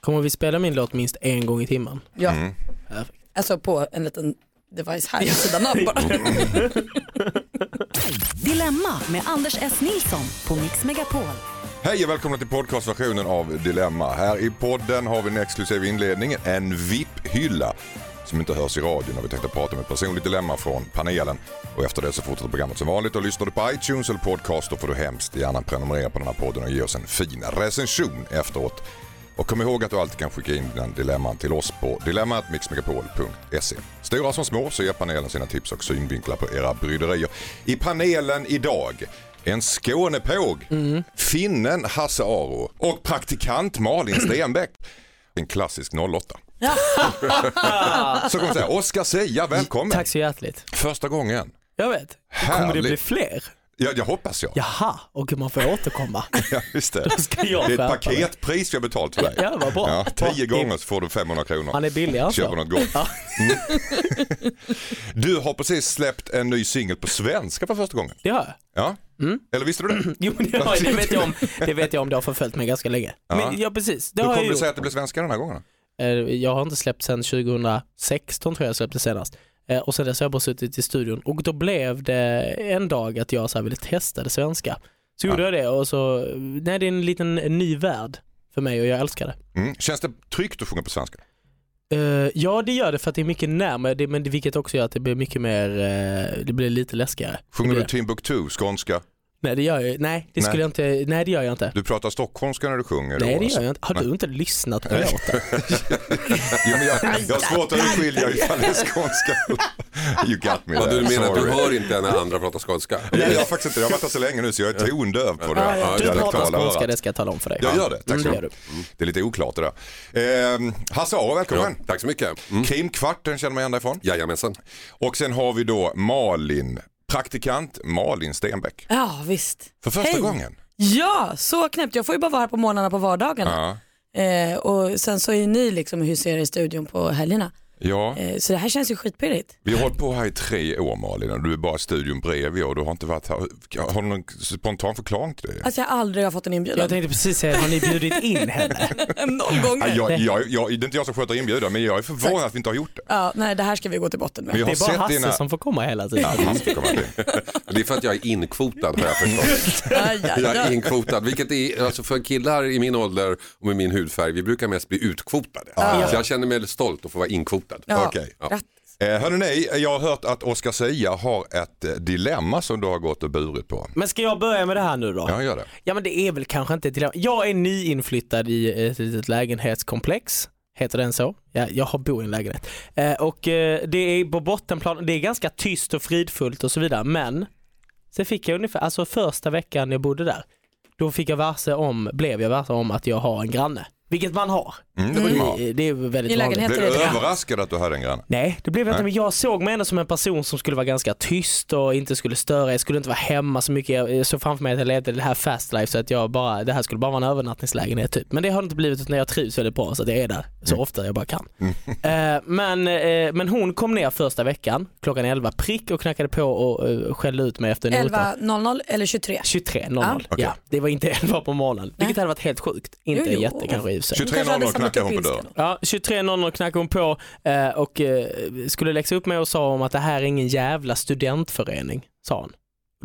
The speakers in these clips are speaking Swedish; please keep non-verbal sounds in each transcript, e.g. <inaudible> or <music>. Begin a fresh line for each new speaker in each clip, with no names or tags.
Kommer vi spela min låt minst en gång i timmen?
Ja,
Mm.
alltså på en liten device här vid sidan av
<laughs>
bara.
Dilemma med Anders S. Nilsson på Mix Megapol.
Hej och välkomna till podcastversionen av Dilemma. Här i podden har vi en exklusiv inledning, en VIP-hylla som inte hörs i radion när vi tänkte prata med ett personligt dilemma från panelen. Och efter det så fortsätter programmet som vanligt och lyssnar du på iTunes eller podcast då får du hemskt gärna prenumerera på den här podden och ge oss en fin recension efteråt. Och kom ihåg att du alltid kan skicka in dina dilemman till oss på dilemmatmixmegapol.se. Stora som små så ger panelen sina tips och synvinklar på era bryderier. I panelen idag en Skånepåg, finnen Hasse Aro och praktikant Malin Stenbeck. En klassisk 08. <laughs> så kommer vi säga Oskar Seja, välkommen.
Tack så hjärtligt.
Första gången.
Jag vet. Kommer det
Härligt.
bli fler?
Ja, jag hoppas <laughs> jag.
Jaha, och man får återkomma.
Ja, just det.
<laughs> Ska
Det
jag
är ett
skärpa mig?
paketpris vi har betalt för dig.
Ja, vad bra.
Ja, tio
Bra.
gånger så får du 500 kronor.
Han är alltså. billigare än
Köper
så.
något gott.
Ja.
<laughs> Du har precis släppt en ny singel på svenska för första gången.
Det har jag.
Ja, eller visste du det?
Jo, men Mm. <clears throat> det, har jag. det, vet jag om, det vet jag om, det har förföljt mig ganska länge. Men, ja, precis. Det
Hur
har
kommer
jag
det sig
gjort.
att det blev svenska den här gången? då?
Eh, Jag har inte släppt sedan 2016 tror jag jag släppte senast. Eh, Och sen dess har jag bara suttit i studion och då blev det en dag att jag så här ville testa det svenska. Så gjorde jag det och så, nej det är en liten ny värld för mig och jag älskar det.
Mm. Känns det tryggt att sjunga på svenska?
Eh, ja det gör det för att det är mycket närmare, det, men det, vilket också gör att det blir mycket mer, eh, det blir lite läskigare.
Sjunger
Det
du
blir-
Timbuktu, skånska?
Nej det gör jag nej det
Nej.
skulle jag inte, nej det gör jag inte.
Du pratar stockholmska när du
Nej
sjunger? då,
det gör
alltså.
jag inte. Har du inte lyssnat på låten?
Jo, men jag, jag har svårt att urskilja ifall det är skånska. You got me
Ja,
there,
du menar att du
sorry.
hör inte när andra pratar skånska?
Ja, jag har faktiskt inte, jag har varit här så länge nu så jag är tondöv på det
Ja, ja,
Du
dialektala
pratar
örat.
skånska, det ska jag tala om för dig.
Jag gör det, tack
Mm,
så
det
mycket.
gör du.
Det är lite oklart det där. Eh, Hasse Aro,
Ja,
välkommen.
tack så mycket. Mm.
Krimkvarten känner man igen dig ifrån.
Jajamensan.
Och sen har vi då Malin, praktikant Malin Stenbeck.
Ja, visst.
För första
Hej.
gången.
Ja, så knäppt. Jag får ju bara vara här på morgnarna på vardagarna.
Ja.
Eh, och sen så är ju ni liksom huserar i studion på helgerna.
ja,
Eh, så det här känns ju skitpirrigt.
vi har hållit på här i tre år Malin och du är bara i studion bredvid och du har inte varit här. Har du någon spontan förklaring till det?
Alltså jag aldrig har fått en inbjudan.
Jag tänkte precis säga, har ni bjudit in henne?
<laughs> Noll gånger.
Nej, jag, jag, jag, det är inte jag som sköter inbjudan men jag är förvånad att vi inte har gjort det.
Ja, nej, det här ska vi gå till botten med. <laughs>
Men jag
Det
har
är bara
sett
Hasse
dina...
som får komma hela tiden.
Ja, han ska komma till.
Det är för att jag är inkvotad har jag förstått.
Aj, aj,
Jag är
aj.
inkvotad, vilket är, alltså för killar i min ålder och med min hudfärg, vi brukar mest bli utkvotade. Så jag känner mig stolt att få vara inkvotad.
Ja,
Okej.
Ja.
grattis.
Eh, hörrni, jag har hört att Oscar Sia har ett eh, dilemma som du har gått och burit på.
Men ska jag börja med det här nu då?
Ja, gör det.
Ja men det är väl kanske inte ett dilemma. Jag är nyinflyttad i ett litet lägenhetskomplex. Heter den så? Ja, jag har bor i en lägenhet. Eh, och eh, det är på bottenplan, det är ganska tyst och fridfullt och så vidare men sen fick jag ungefär, alltså första veckan jag bodde där, då fick jag varse om, blev jag varse om att jag har en granne. Vilket man har.
Mm, det var bra.
Eh, Det är väldigt
I
vanligt.
lägenhet-
Blev du
Heter det-
överraskad att du hade en granne?
Nej, det blev jag inte.
Nej.
Men jag såg mig ändå som en person som skulle vara ganska tyst och inte skulle störa. Jag skulle inte vara hemma så mycket. Jag eh, såg framför mig att jag levde det här fast life så att jag bara, det här skulle bara vara en övernattningslägenhet typ. Men det har det inte blivit utan jag trivs väldigt bra så att jag är där så
Mm.
ofta jag bara kan. <laughs> Eh, men, eh, men hon kom ner första veckan klockan 11 prick och knackade på och eh, skällde ut mig efter
11.00
notan.
eller 23.
23.00.
Ah.
Okej.
Ja, det var inte <laughs> 11 på morgonen. Vilket hade varit helt sjukt. Inte
Jo, jo.
jätte kanske i och för sig.
23.00 knackade hon på dörren.
Ja, 23.00 knackade hon på eh, och eh, skulle läxa upp mig och sa om att det här är ingen jävla studentförening, sa hon.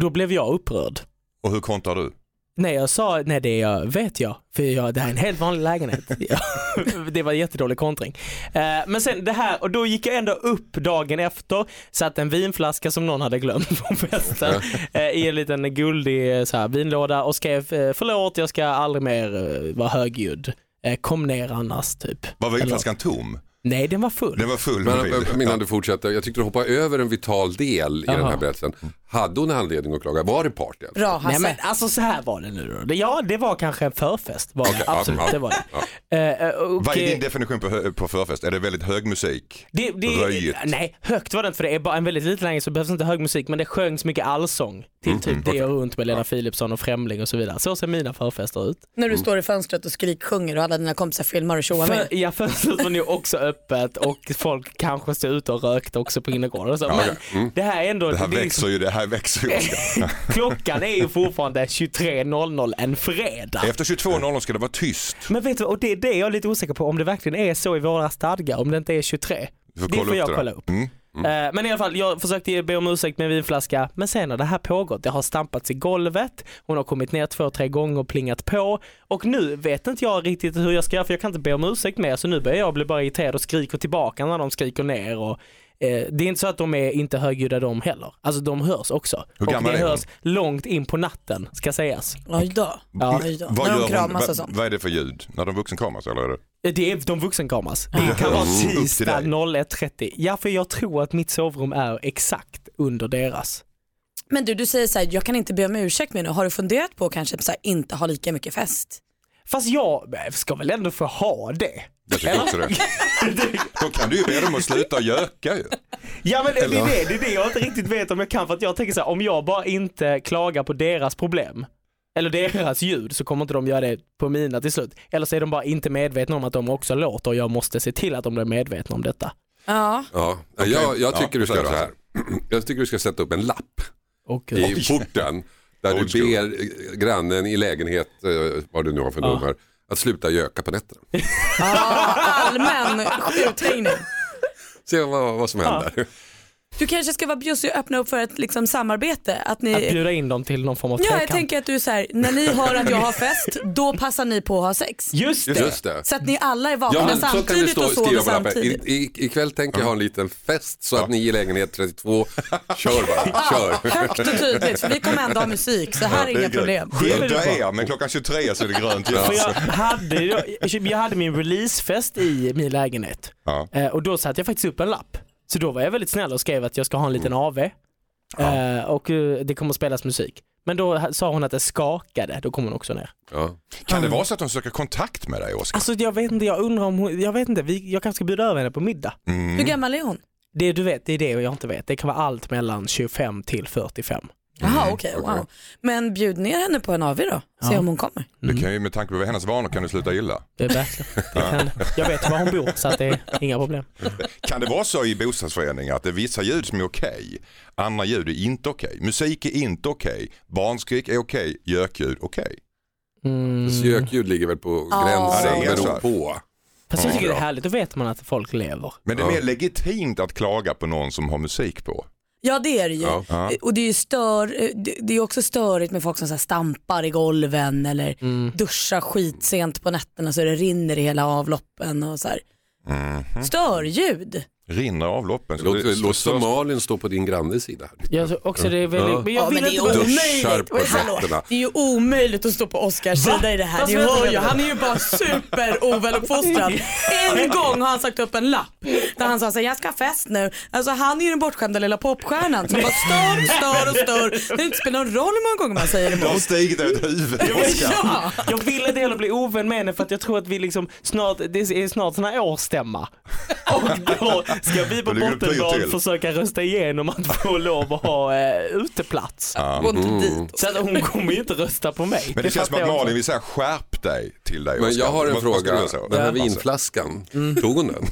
Då blev jag upprörd.
Och hur kontrar du?
Nej, jag sa, nej det är jag, vet jag, för jag, det här är en helt vanlig lägenhet. Ja, <laughs> det var en jättedålig kontring. Eh, men sen det här, och då gick jag ändå upp dagen efter, satte en vinflaska som någon hade glömt på festen eh, i en liten guldig eh, så här, vinlåda och skrev eh, förlåt, jag ska aldrig mer eh, vara högljudd. Eh, kom ner annars, typ.
Var vinflaskan tom?
Nej, den var full.
Den var full med
Men, eh,
vin.
men innan du fortsätter, jag tyckte du hoppade över en vital del i den
Jaha.
här berättelsen. Hade hon anledning att klaga? Var det party? alltså?
Bra
Nej
Hasse.
men alltså så här var det nu då. Det- Ja det var kanske en förfest. Var det.
ja,
Absolut,
ja,
det var det. Eh, eh, och,
Vad är
eh,
din definition på, hö- på förfest? Är det väldigt hög musik?
det, det,
Röjigt.
Nej, högt var det inte för det är bara en väldigt liten lägenhet så det behövs inte hög musik men det sjöngs mycket allsång till
Mm,
typ det och runt med Lena Philipsson och Främling och så vidare. Så ser mina förfester ut.
När
Mm.
du står i fönstret och skriksjunger och alla dina kompisar filmar och tjoar med.
För, ja, fönstret var nu också öppet och folk kanske stod ute och rökte också på innergården och så. Men det här är ändå...
Mm. Det här
är liksom-
växer ju, det Här växer
<laughs>
jag.
Klockan är ju fortfarande 23.00 en fredag.
<laughs> Efter 22.00 ska det vara tyst.
Men vet du, och det är det jag är lite osäker på, om det verkligen är så i våra stadgar, om det inte är 23.
Du får
det
kolla
får
upp
jag
det där.
kolla upp.
Mm.
Eh, Men i alla fall, jag försökte be om ursäkt med en vinflaska, men sen har det här pågått. Det har stampats i golvet, hon har kommit ner två, tre gånger och plingat på och nu vet inte jag riktigt hur jag ska göra för jag kan inte be om ursäkt mer så nu börjar jag bli bara irriterad och skriker tillbaka när de skriker ner och eh, det är inte så att de är inte högljudda de heller. Alltså de hörs också.
Hur
och
gammal
det
är hon?
hörs långt in på natten, ska sägas.
Oj då.
Ja.
Oj då.
Vad,
När
gör
de
hon,
kramas och
vad,
sånt.
vad är det för ljud? När de vuxenkramas eller? Är det?
Eh, Det är de vuxenkameras. Det kan
Ja.
vara
Upp till
tisdag
dig.
01.30. Ja, för jag tror att mitt sovrum är exakt under deras.
Men du, du säger så här, jag kan inte be om ursäkt med nu. Har du funderat på kanske att så här, inte ha lika mycket fest?
Fast jag eh, ska väl ändå få ha det.
Jag tycker också det. <laughs> Då kan du ju be dem att sluta göka ju.
Ja men det är,
Eller?
det, det är det jag inte riktigt vet om jag kan för att jag tänker så här, om jag bara inte klagar på deras problem eller deras ljud så kommer inte de göra det på mina till slut. Eller så är de bara inte medvetna om att de också låter och jag måste se till att de blir medvetna om detta.
Ja.
Ja. Jag, jag
Ja,
tycker du ska
kör
göra så här. Jag tycker du ska sätta upp en lapp
Och,
i porten där
Old
du
school.
ber eh, grannen i lägenhet, eh, vad du nu har för
Ja.
nummer, att sluta göka på nätterna.
Allmän uthängning.
Se vad, vad som händer.
Du kanske ska vara bjussig och öppna upp för ett liksom, samarbete. Att
att
ni...
bjuda in dem till någon form av
Ja, jag
trekant.
tänker att du är så här, när ni hör att jag
<laughs>
har fest, då passar ni på att ha sex.
Just det!
Just det.
Så att ni alla är vakna
Ja, men så kan du
samtidigt
stå,
och sover
skriva på lappen.
samtidigt.
I, i, ikväll tänker jag ha en liten fest så att ni i lägenhet 32, kör bara, kör.
Högt och tydligt, för vi kommer ändå ha musik, så här är inga problem.
Skydda er, men klockan 23 så är det grönt ljus.
För jag, hade, jag, jag hade min releasefest i min lägenhet
Ja.
Eh, och då satte jag faktiskt upp en lapp. Så då var jag väldigt snäll och skrev att jag ska ha en liten AV eh, och eh, det kommer att spelas musik. Men då ha- sa hon att det skakade, då kom hon också ner.
Ja.
Kan det vara så att de söker kontakt med dig Oskar?
Alltså jag vet inte, jag undrar om hon, jag vet inte, vi, jag kanske ska bjuda över henne på middag.
Mm.
Hur gammal är hon?
Det du vet, det är det jag inte vet. Det kan vara allt mellan 25 till 45.
Mm,
Jaha, okej, wow. Men bjud ner henne på en AV då, se
Ja.
om hon kommer.
Du kan ju med tanke på hennes vanor kan du sluta gilla.
Det är verkligen, <laughs> det kan, jag vet var hon bor så att det är inga problem.
Kan det vara så i bostadsföreningar att det är vissa ljud som är okej, andra ljud är inte okej, musik är inte okej, barnskrik är okej, gökljud okej.
Mm.
Så Gökljud ligger väl på
Ja.
gränsen,
Ja, det är så
beror
här.
på.
Fast jag tycker det är
Ja.
härligt, då vet man att folk lever.
Men det är
Ja.
mer legitimt att klaga på någon som har musik på.
Ja det är det ju.
Ja.
Ja.
Eh, Och det är ju stör, eh, det- det är också störigt med folk som så här stampar i golven eller
Mm.
duschar skitsent på nätterna så det rinner i hela avloppen och så här.
Mhm.
Störljud.
Rinner avloppen. så det-
Låt,
så-
låt
så-
Somalien stå på din grannes sida. här.
Jag tror också det är väldigt,
Ja.
men jag
Ja,
vill
men det är
inte bara-
Duschar
omöjligt.
på
Och hallå,
nätterna.
det är ju omöjligt att stå på Oscars sida i det här.
Vad
Ni
ska jag
hör ju,
göra?
han är ju bara <laughs> superoväluppfostrad. En gång har han sagt upp en lapp där han sa så här, jag ska ha fest nu. Alltså han är ju den bortskämda lilla popstjärnan som bara stör, stör och stör. Det inte spelar någon roll hur många gånger man säger
Det har
emot.
stigit över huvudet.
Ja.
Jag vill inte heller bli ovän med henne för att jag tror att vi liksom snart, det är snart sån här årsstämma. <laughs> Och då ska vi på
Då ligger det pyrt
bottenplan
till.
försöka rösta igenom att få lov att ha eh, uteplats.
Gå inte dit.
Så att hon kommer ju inte rösta på mig.
Men det, känns som
fattar
att
jag också.
Malin vill säga skärp dig till dig.
Men
Oskar.
jag har en
Vad- vad ska du
fråga.
göra så?
Den här
Alltså,
Mm. vinflaskan, tog hon den?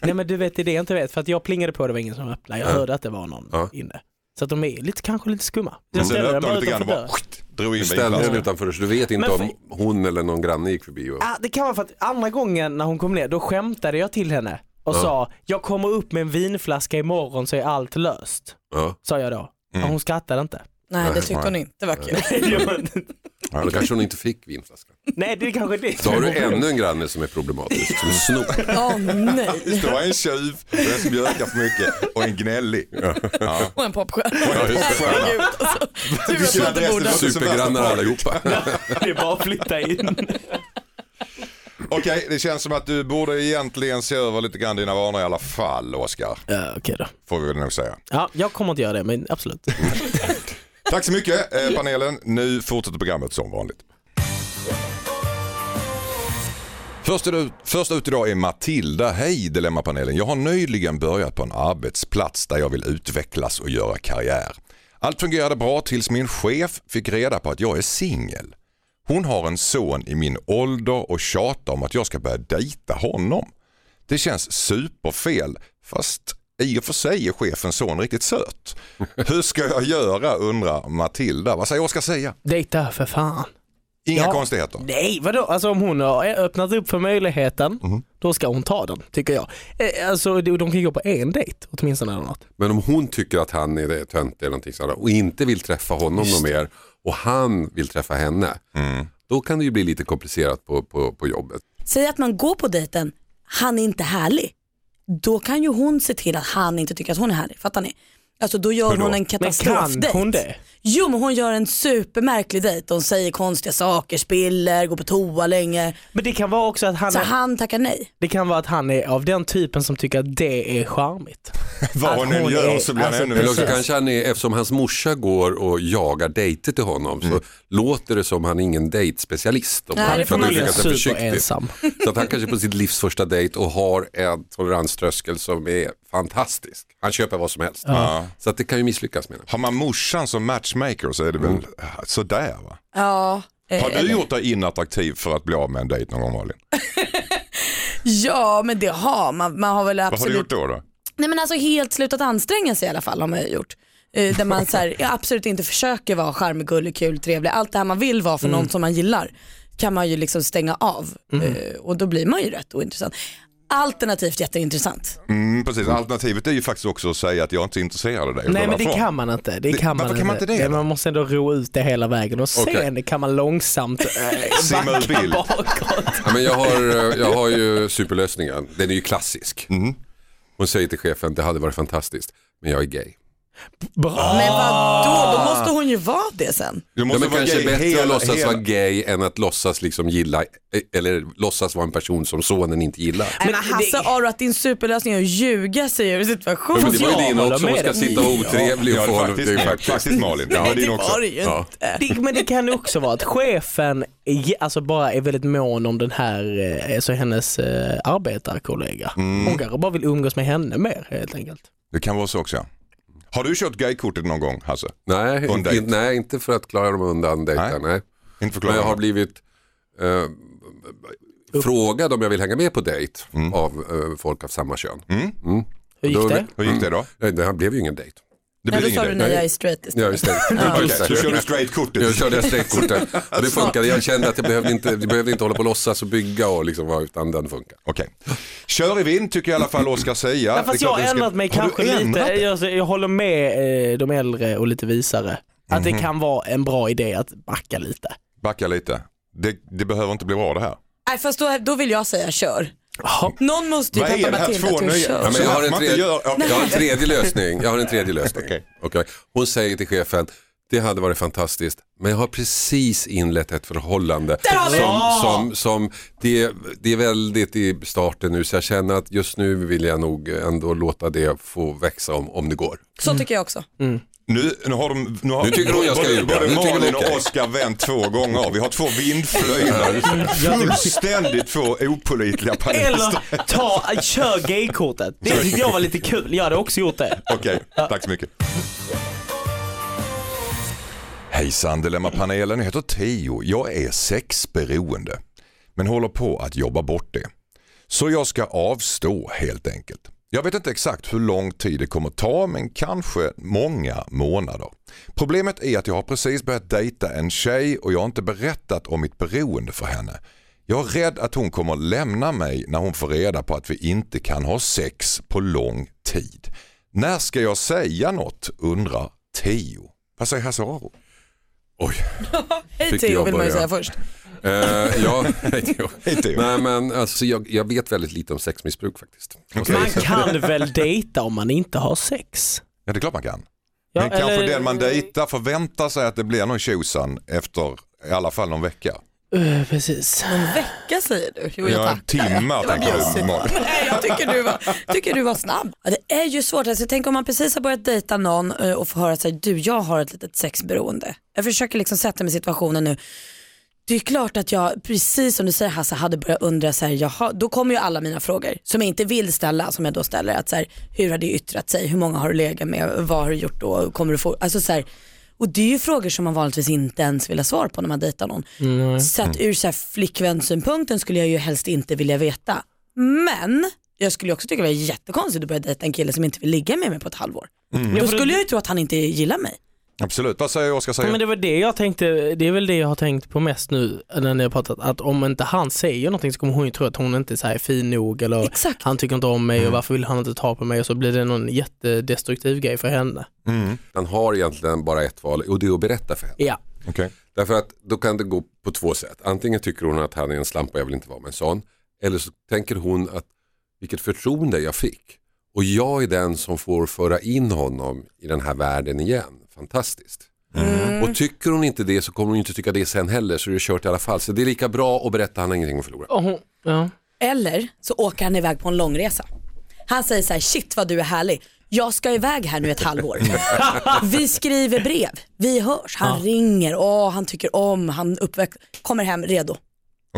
Nej men du vet det är det jag inte vet för att jag plingade på det var ingen som öppnade. Jag hörde att det var någon
Ja.
inne. Så att de är lite, kanske lite skumma.
men
Jag
Sen
ställer den
öppnade
bara
hon lite grann
utanför
och bara
dörren.
drog in
Ställde den
vinflaskan.
utanför så du vet inte
Men för-
om hon eller någon granne gick förbi. Och...
Ah, det kan vara för att andra gången när hon kom ner, då skämtade jag till henne och sa, jag kommer upp med en vinflaska imorgon så är allt löst.
Ja.
Sa jag då. Och hon skrattade <laughs> inte.
Nej det tyckte hon inte var kul.
Då kanske hon inte fick vinflaskan.
Nej det är kanske det
Då
som
har du
är problemet.
ännu en granne som är problematisk, som snor.
<laughs> Åh nej.
<laughs> Det var en tjuv, och en som bjökar för mycket och en
<laughs>
gnällig. Ja.
Och en
Ja,
popstjärna.
just det.
Herregud <laughs> alltså. Tur att
Vilken
jag inte
adress
bor
det
där.
var.
Supergrannar allihopa.
<laughs> Det är bara att flytta in.
Okej, det känns som att du borde egentligen se över lite grann dina vanor i alla fall, Oskar.
Ja, Okej då.
Får vi väl nog säga.
Ja, jag kommer inte göra det men absolut.
Tack så mycket eh, panelen. Nu fortsätter programmet som vanligt. Först ut, först ut idag är Matilda. Hej Dilemmapanelen. Jag har nyligen börjat på en arbetsplats där jag vill utvecklas och göra karriär. Allt fungerade bra tills min chef fick reda på att jag är singel. Hon har en son i min ålder och tjatar om att jag ska börja dejta honom. Det känns superfel fast I och för sig är chefens son riktigt söt. Hur ska jag göra undrar Matilda. Vad säger Oskar säga?
Dejta för fan.
Inga
Ja.
konstigheter.
<laughs> Nej, vadå? Alltså om hon har öppnat upp för möjligheten, då ska hon ta den, tycker jag. Eh, Alltså de de kan gå på en dejt åtminstone eller något.
Men om hon tycker att han är tönt eller någonting sådär och inte vill träffa honom någon mer och han vill träffa henne. Då kan det ju bli lite komplicerat på, på, på jobbet.
Säg att man går på dejten, han är inte härlig. Då kan ju hon se till att han inte tycker att hon är härlig. Fattar ni? Alltså då gör
då?
hon en
Men kan
katastrofdejt.
hon det?
Jo men hon gör en supermärklig dejt. Hon säger konstiga saker, spiller, går på toa länge.
Men det kan vara också att han,
Så
är,
han tackar nej.
det kan vara att han är av den typen som tycker att det är charmigt.
Vad
Att
hon än
hon
gör
är-
så blir han
alltså,
ännu mer
Eller också
söt.
kanske han är, eftersom hans morsa går och jagar dejter till honom
Mm.
så låter det som han är ingen dejtspecialist. Om
Nej,
han
det får
kan
man
uttrycka
göra.
sig försiktigt.
Superensam.
<laughs> Så att han kanske är på sitt livs första dejt och har en toleranströskel som är fantastisk. Han köper vad som helst. Så att det kan ju misslyckas med
Har man morsan som matchmaker så är det väl sådär va?
Ja. eh,
Har du gjort dig inattraktiv för att bli av med en dejt någon gång Malin?
Ja men det har man. Man har väl
Vad har du
absolut
gjort då? då?
Nej men alltså helt slutat anstränga sig i alla fall har man ju gjort. Eh, Där man
<laughs>
så här, jag absolut inte försöker vara charmig, gullig, kul, trevlig. Allt det här man vill vara för
Mm.
någon som man gillar kan man ju liksom stänga av Eh, och då blir man ju rätt ointressant. Alternativt jätteintressant.
Mm, precis. Alternativet är ju faktiskt också att säga att jag inte är intresserad av dig. och gå
Nej men det
därifrån.
kan man inte. Det
Det-
kan man
varför
inte.
kan man inte det då?
man måste ändå ro ut det hela vägen och sen
Okej.
kan man långsamt eh,
<laughs> Simma ur
backa
bild.
bakåt.
Ja, men jag, har, eh, jag har ju superlösningen, den är ju klassisk.
Mm.
Hon säger till chefen, det hade varit fantastiskt, men jag är gay. Ah.
Bra.
Men vadå, då måste hon ju vara det sen.
Du
Ja, men
vara
kanske
gay
bättre
hela-
att låtsas
hela-
vara gay än att låtsas liksom gilla, eh, eller låtsas vara en person som sonen inte gillar.
Men,
Men
Hasse
det-
Aro att din superlösning är att ljuga sig ur
alltså, Ja,
situationen.
Men det var ju
jag
din
håller
också,
med
man ska
dig.
sitta och vara otrevlig och
Ja,
få
faktiskt,
det är
faktiskt.
faktiskt.
Malin. Det var din också.
det ju
Ja.
Det, men det kan också vara att chefen ge- alltså bara är väldigt mån om den här, eh, alltså hennes eh, arbetarkollega.
Mm.
Hon kanske bara vill umgås med henne mer helt enkelt.
Det kan vara så också. ja. Har du kört gaykortet någon gång Hasse?
Nej,
På en
inte,
dejt.
nej, inte för att klara dem undan dejten. Nej.
Inte förklara.
Men jag har blivit eh, frågad om jag vill hänga med på dejt av eh, folk av samma kön.
Hur gick
Då-
det?
Hur gick det då?
Nej, det här blev ju ingen dejt.
Det
Nej,
blev
då sa du
ingen dejt.
nej, jag är straight istället.
Ja, just det. Just
Okej,
det.
Du körde
Jag
straightkortet.
körde streckkortet och det funkade. Jag kände att jag behövde inte, jag behövde inte hålla på och låtsas och bygga och liksom vara utan den funkar.
Okej. Kör i vind tycker jag i alla fall Oskar säga.
Ja,
Det är
fast jag
klart
har
du ska-
ändrat mig
Har du
kanske lite.
ändrat dig?
Jag, alltså, jag håller med eh, de äldre och lite visare. Att
Mhm.
det kan vara en bra idé att backa lite.
Backa lite. Det, det behöver inte bli bra det här.
Nej fast då, då vill jag säga kör.
Jaha.
Någon måste ju
Vad är
peppa
det här
Matilda
två
till att
nöjen?
köra.
Ja, men jag, har en
Man inte
tredje,
gör- okej.
jag har en tredje lösning. Jag har
<laughs>
en tredje lösning.
Okej.
Okej. Hon säger till chefen, det hade varit fantastiskt, men jag har precis inlett ett förhållande
har vi
som, som, som det, det är väldigt i starten nu så jag känner att just nu vill jag nog ändå låta det få växa om, om det går.
Så tycker jag också.
Mm.
Nu, nu har de... Nu, har,
Nu tycker hon jag ska
både-
ljuga.
Både
Nu tycker hon
Malin
okej.
och Oskar vänt två gånger. Vi har
<laughs>
två vindflöjlar. Fullständigt två opolitliga panister.
Eller ta, kör gaykortet. Det tyckte jag var lite kul. Jag hade också gjort det.
Okej, tack så mycket. Hejsan Dilemmapanelen, jag heter Theo. Jag är sexberoende men håller på att jobba bort det. Så jag ska avstå helt enkelt. Jag vet inte exakt hur lång tid det kommer ta men kanske många månader. Problemet är att jag har precis börjat dejta en tjej och jag har inte berättat om mitt beroende för henne. Jag är rädd att hon kommer lämna mig när hon får reda på att vi inte kan ha sex på lång tid. När ska jag säga något undrar Theo. Vad säger Hasse Aro?
Oj.
Hej
Tycker
Theo
jag
vill man ju
börjar.
säga först.
<laughs>
Eh, ja, <laughs>
Hej, Theo.
Nej, men alltså, jag, jag vet väldigt lite om sexmissbruk faktiskt.
Man kan väl dejta om man inte har sex?
Ja det är klart man kan.
Ja,
men kanske
eller-
den man dejtar förväntar sig att det blir någon tjosan efter i alla fall någon vecka.
Eh, precis.
Mm.
Vecka säger du. Jo jag
ja,
tack.
en timme tänker du. Malin.
Nej, jag tycker du, var, tycker du var snabb. Ja, det är ju svårt. Alltså, tänk om man precis har börjat dejta någon eh, och får höra att du, jag har ett litet sexberoende. Jag försöker liksom sätta mig i situationen nu. Det är klart att jag, precis som du säger Hasse, hade börjat undra så här, jaha, då kommer ju alla mina frågor som jag inte vill ställa, som jag då ställer. Att så här, hur har det yttrat sig? Hur många har du legat med? Vad har du gjort då? Kommer du få? Alltså, så här, och det är ju frågor som man vanligtvis inte ens vill ha svar på när man dejtar någon. Så att ur så här, flickvänssynpunkten skulle jag ju helst inte vilja veta. Men jag skulle ju också tycka det var jättekonstigt att börja dejta en kille som inte vill ligga med mig på ett halvår. Då skulle jag ju tro att han inte gillar mig.
Absolut, vad säger Oskar?
Ja,
Säger?
men det var det jag tänkte, det är väl det jag har tänkt på mest nu när ni har pratat, att om inte han säger någonting så kommer hon ju tro att hon inte är så här fin nog eller
Exakt.
han tycker inte om mig
Mm.
och varför vill han inte ta på mig och så blir det någon jättedestruktiv grej för henne.
Han har egentligen bara ett val och det är att berätta för henne.
Ja.
Okej.
Därför att då kan det gå på två sätt. Antingen tycker hon att han är en slampa och jag vill inte vara med en sån. Eller så tänker hon att vilket förtroende jag fick. Och jag är den som får föra in honom i den här världen igen. Fantastiskt. Och tycker hon inte det så kommer hon inte tycka det sen heller så det är kört i alla fall. Så det är lika bra att berätta, han har ingenting att förlora.
Och hon, ja.
Eller så åker han iväg på en långresa. Han säger så här, shit vad du är härlig. Jag ska iväg här nu ett
<laughs>
halvår. Vi skriver brev, vi hörs, han ringer, åh, han tycker om, han uppväxt, kommer hem redo.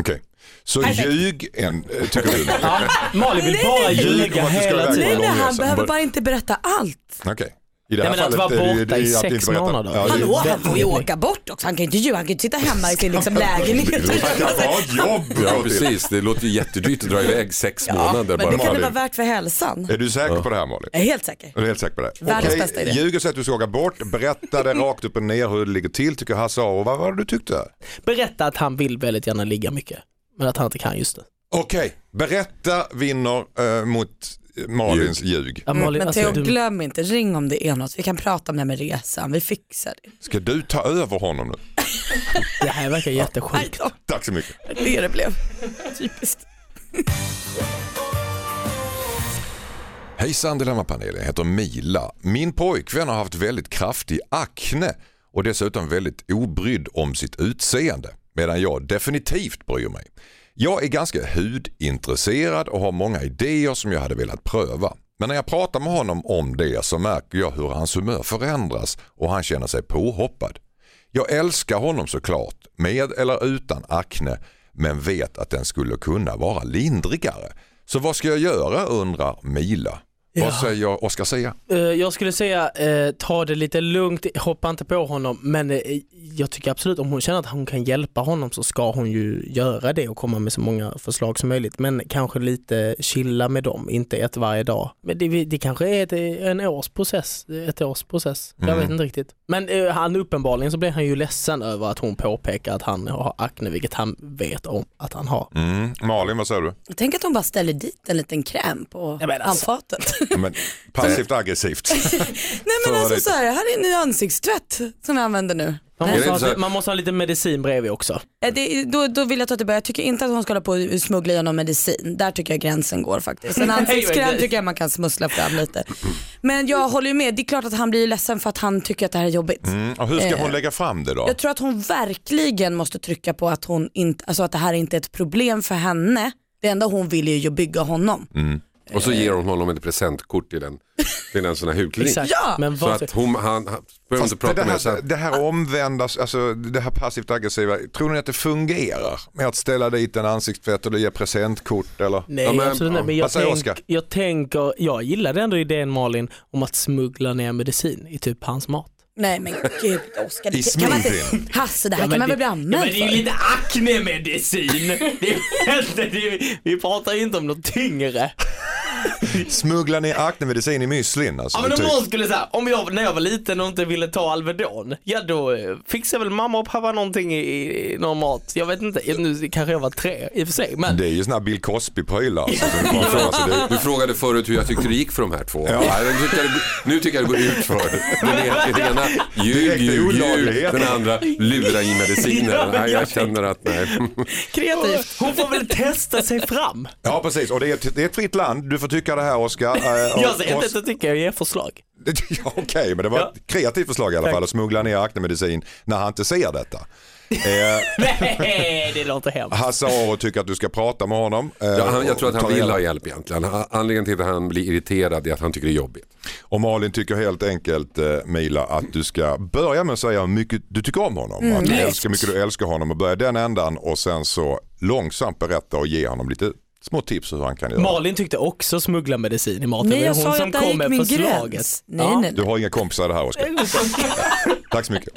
Okej. Så
Perfekt.
ljug en, eh,
<laughs>
tycker du?
ja. Malin vill
Nej,
bara
nej.
Ljug om
ljuga
att du ska
hela
iväg.
tiden.
Nej, nej, han
långresa.
behöver
Bara-
bara inte berätta allt.
Okej. I det
Nej,
här
men att
fallet
vara
är det ju-
borta
det är
i
ju att
sex
inte berätta.
månader.
Ja, det är-
Hallå, han får ju
Definitivt.
åka bort också. Han kan ju inte ljuga, han kan ju inte sitta hemma i sin liksom, lägenhet.
Han kan ha ett jobb.
Ja
jag vet.
<laughs> precis, det låter ju jättedyrt att dra iväg sex
Ja,
månader
men det kan
bara.
det vara värt för hälsan.
Är du säker på det här Malin?
Jag är helt säker.
Är du helt säker på det?
Världens
Okej,
bästa idé.
Ljug och säg att du ska åka bort, berätta det rakt upp och ner hur det ligger till, tycker Hasse och vad var det du tyckte?
Berätta att han vill väldigt gärna ligga mycket, men att han inte kan just nu.
Okej, berätta vinner eh, mot eh, Malins ljug.
Ja, Malin,
Men
alltså,
Theo,
du-
glöm inte, ring om det är något. Vi kan prata om det här med resan, vi fixar det.
Ska du ta över honom nu?
Det här verkar jättesjukt.
Tack så mycket.
Det det blev. Typiskt.
Hejsan Dilemmapanelen, jag heter Mila. Min pojkvän har haft väldigt kraftig akne och dessutom väldigt obrydd om sitt utseende. Medan jag definitivt bryr mig. Jag är ganska hudintresserad och har många idéer som jag hade velat pröva. Men när jag pratar med honom om det så märker jag hur hans humör förändras och han känner sig påhoppad. Jag älskar honom såklart, med eller utan akne, men vet att den skulle kunna vara lindrigare. Så vad ska jag göra undrar Mila. Vad säger Oskar säga?
Eh, Jag skulle säga eh, ta det lite lugnt, hoppa inte på honom men eh, jag tycker absolut om hon känner att hon kan hjälpa honom så ska hon ju göra det och komma med så många förslag som möjligt men kanske lite chilla med dem, inte ett varje dag. Men det, det kanske är ett, en års process, ett års process. Jag vet inte riktigt. Men eh, han uppenbarligen så blir han ju ledsen över att hon påpekar att han har akne vilket han vet om att han har.
Mm. Malin, vad säger du?
Tänk att hon bara ställer dit en liten kräm på
men alltså. <laughs>
handfatet.
<laughs>
Men, passivt aggressivt.
Nej men
Så
alltså
det-
så här, här är en ny ansiktstvätt som jag använder nu.
Man
Är det
måste,
inte så
ha,
här-
man måste ha lite medicin bredvid också.
Eh, Det, då, då vill jag ta tillbaka, jag tycker inte att hon ska hålla på och smuggla i någon medicin. Där tycker jag gränsen går faktiskt. En
<laughs>
ansiktskräm
nej.
tycker jag man kan smussla fram lite. Men jag håller ju med, det är klart att han blir ledsen för att han tycker att det här är jobbigt.
Mm. Och hur ska
Eh,
hon lägga fram det då?
Jag tror att hon verkligen måste trycka på att, hon inte, alltså att det här inte är ett problem för henne. Det enda hon vill är ju att bygga honom.
Och så ger hon honom ett presentkort till en, till en sån här hudklinik.
Exakt.
Ja!
Men
Så
vad,
att hon, han, han behöver inte
Fast
prata
det,
med henne.
här, det här omvända, alltså det här passivt aggressiva, tror ni att det fungerar med att ställa dit en ansiktstvätt eller ge presentkort eller?
Nej
Ja, men-
absolut inte. Men
ja.
jag,
Vad säger
tänk,
Oskar?
jag tänker, jag gillade ändå idén Malin om att smuggla ner medicin i typ hans mat.
Nej men gud Oskar,
I
det kan man
smoothien.
inte, Hasse det här kan man väl bli anmäld för?
lite aknemedicin. <laughs> Det är inte- det är- vi pratar ju inte om något tyngre.
Smuggla ner aknemedicin i müslin alltså.
Ja, men om
typ.
någon skulle säga, om jag, när jag var liten och inte ville ta Alvedon, ja då eh, fixade väl mamma och pappa någonting i, i någon mat. Jag vet inte, nu kanske jag var tre i och för sig, men
Det är ju sådana här Bill Cosby-prylar. Alltså, som man får, alltså, det,
Du frågade förut hur jag tyckte det gick för de här två. Ja. jag tycker det- Nu tycker jag det går ut för. Den ena- den ena ljug,
Direkt
ljug, ljug.
olaglighet.
Den andra lura i mediciner.
Ja, jag
Nej, jag känner att nej.
kreativt. Hon får väl testa sig fram.
Ja precis, och det är, ett, det är ett fritt land. Du får tycka det här Oskar. Eh, och-
Jag säger inte
och-
att jag tycker, jag ger <laughs> förslag.
<laughs> Ja, Okej, men det var
Ja.
ett kreativt förslag i alla
Tack.
fall att smuggla ner aknemedicin när han inte ser detta. Eh,
<laughs> Nej, det låter hemskt.
Hasse Aro tycker att du ska prata med honom. eh,
Ja, han, jag
och
tror att
ta
han vill
reda-
ha hjälp egentligen. Han- Anledningen till att han blir irriterad är att han tycker det är jobbigt.
Och Malin tycker helt enkelt eh, Mila att du ska börja med att säga hur mycket du tycker om honom.
Mm.
att du älskar hur mycket du älskar honom och börja den ändan och sen så långsamt berätta och ge honom lite små tips hur han kan göra.
Malin tyckte också smuggla medicin i maten.
Nej
Det är
jag
hon
sa ju
som
att där
kom
gick
med
min
förslaget.
gräns. Nej,
Ja.
nej,
Du
nej.
har inga kompisar i det här Oskar. Tack så mycket.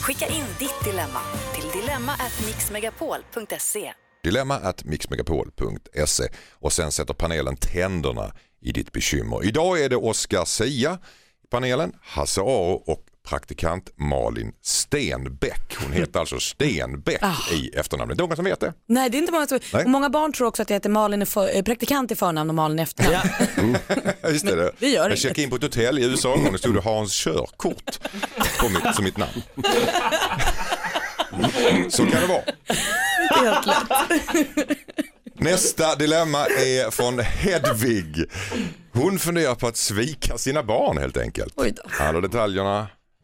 Skicka in ditt dilemma till dilemma@mixmegapol.se.
dilemma at mixmegapol.se och sen sätter panelen tänderna i ditt bekymmer. Idag är det Oscar Sia i panelen, Hasse Aro och praktikant Malin Stenbeck. Hon heter alltså Stenbeck i efternamnet. Någon som vet det?
Nej, det är inte många som...
Nej.
Och många barn tror också att jag heter Malin i för... eh, praktikant i förnamn och Malin i
<laughs>
efternamn.
Ja, Just det, det.
det gör
jag
inget.
checkade in på ett hotell i USA en gång och stod det Hans körkort på mitt, som mitt namn. Mm. Så kan det vara.
Det är helt lätt.
Nästa dilemma är från Hedvig. Hon funderar på att svika sina barn helt enkelt.
Oj då.
Alla detaljerna